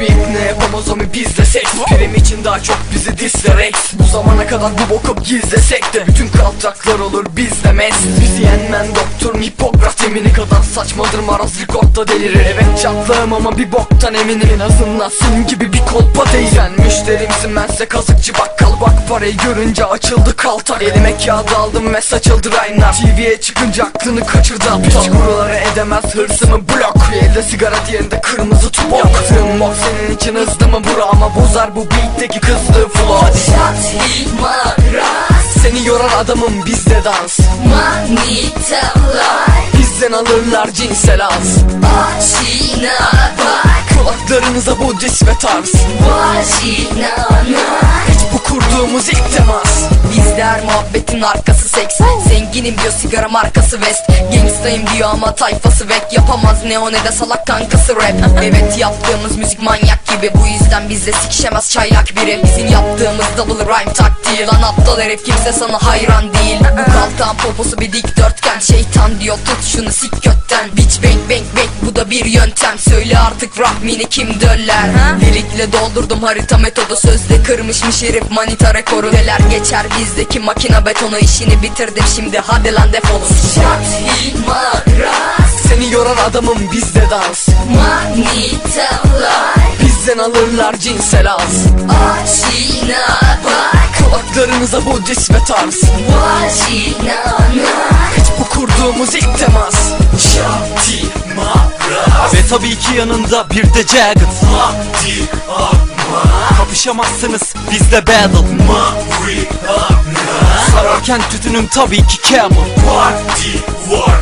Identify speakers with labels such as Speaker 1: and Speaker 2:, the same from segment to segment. Speaker 1: bir ipne yapamaz ama bizle seks Prim için daha çok bizi dislerek Bu zamana kadar bu boku gizlesek de Bütün kalacaklar olur bizle mest Bizi yenmen doktor Hipokrat yemini kadar saçmadır maraz rekortta delirir Evet çatlağım ama bir boktan eminim En azından senin gibi bir kolpa değil Sen müşterimsin bense kazıkçı bakkal Bak parayı görünce açıldı kaltak Elime kağıt aldım ve saçıldı Raynar TV'ye çıkınca aklını kaçırdı aptal Gururlara edemez hırsımı blok Elde sigara diğerinde kırmızı tubok Yaptığım mok senin için hızlı mı bura Ama bozar bu beatteki kızdığı flow Hadi
Speaker 2: Shot maras
Speaker 1: Seni yorar adamım bizde dans
Speaker 2: Manitalar
Speaker 1: Bizden alırlar cinsel az
Speaker 2: Vajina bak
Speaker 1: Kulaklarınıza bu dis ve tarz
Speaker 2: Vajina
Speaker 1: Hiç bu kurduğumuz ilk temas
Speaker 3: Bizler muhabbetin arkası seks Zenginim diyor sigara markası West Gangstayım diyor ama tayfası whack Yapamaz ne o ne de salak kankası rap Evet yaptığımız müzik manyak gibi Bu yüzden bizde sikişemez çaylak biri Bizim yaptığımız double rhyme taktiği Lan aptal herif kimse sana hayran değil Bu kaltan poposu bir dikdörtgen Şeytan diyor tut şunu sik götten Bitch bang bang bang bu da bir yöntem Söyle artık rahmini kim döller Delikle doldurdum harita metodu Sözde kırmışmış herif manita rekoru Neler geçer bizdeki makina betonu işini bitirdim şimdi hadi lan defolun
Speaker 2: Shot maras
Speaker 1: Seni yorar adamım bizde dans
Speaker 2: Manitalar
Speaker 1: Bizden alırlar cinsel az
Speaker 2: Vajina bak
Speaker 1: Kulaklarınıza bu dis ve tarz
Speaker 2: Vajina
Speaker 1: Hiç bu kurduğumuz ilk temas Şati Mara
Speaker 4: Ve tabii ki yanında bir de Jagged
Speaker 1: Hadi
Speaker 4: Kapışamazsınız bizde battle
Speaker 1: Mavi
Speaker 4: Sararken tütünüm tabii ki Camel
Speaker 1: Parti var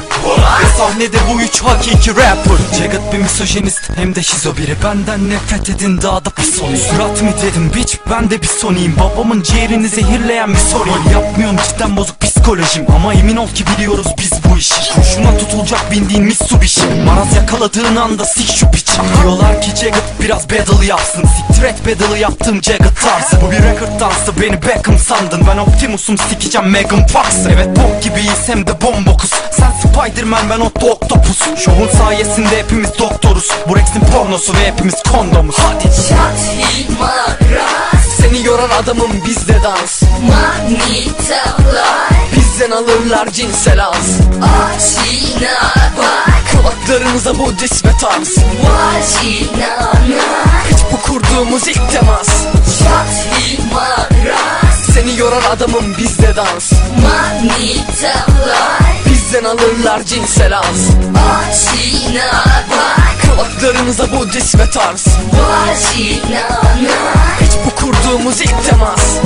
Speaker 4: Ve sahnede bu üç hakiki rapper Jagged bir misojenist hem de şizo biri Benden nefret edin daha da pis olun Surat mı dedim bitch ben de bir soniyim Babamın ciğerini zehirleyen bir soruyum Yapmıyorum cidden bozuk psikolojim Ama emin ol ki biliyoruz biz bu işi Kurşuna tutulacak bindiğin Mitsubishi Maraz yakaladığın anda sik şu piçi Diyorlar ki Jagged biraz battle yapsın Siktir et battle'ı yaptım Jagged tarzı Bu bir record dansı beni Beckham sandın Ben Optimus'um sikeceğim Megan Fox Evet bok gibiyiz hem de bombokuz Sen Spiderman ben Otto Octopus Şovun sayesinde hepimiz doktoruz Bu Rex'in pornosu ve hepimiz kondomuz Hadi
Speaker 2: Shot maras
Speaker 1: Seni yorar adamım bizde dans
Speaker 2: Manitalar
Speaker 1: Bizden alırlar cinsel az
Speaker 2: Vajina bak
Speaker 1: Kulaklarınıza bu dis ve tarz
Speaker 2: Vajina
Speaker 1: Hiç bu kurduğumuz ilk temas
Speaker 2: Şati maras
Speaker 1: Seni yorar adamım bizde dans
Speaker 2: Manitalar
Speaker 1: Bizden alırlar cinsel az
Speaker 2: Vajina bak
Speaker 1: Kulaklarınıza bu dis ve tarz
Speaker 2: Vajina
Speaker 1: Hiç bu kurduğumuz ilk temas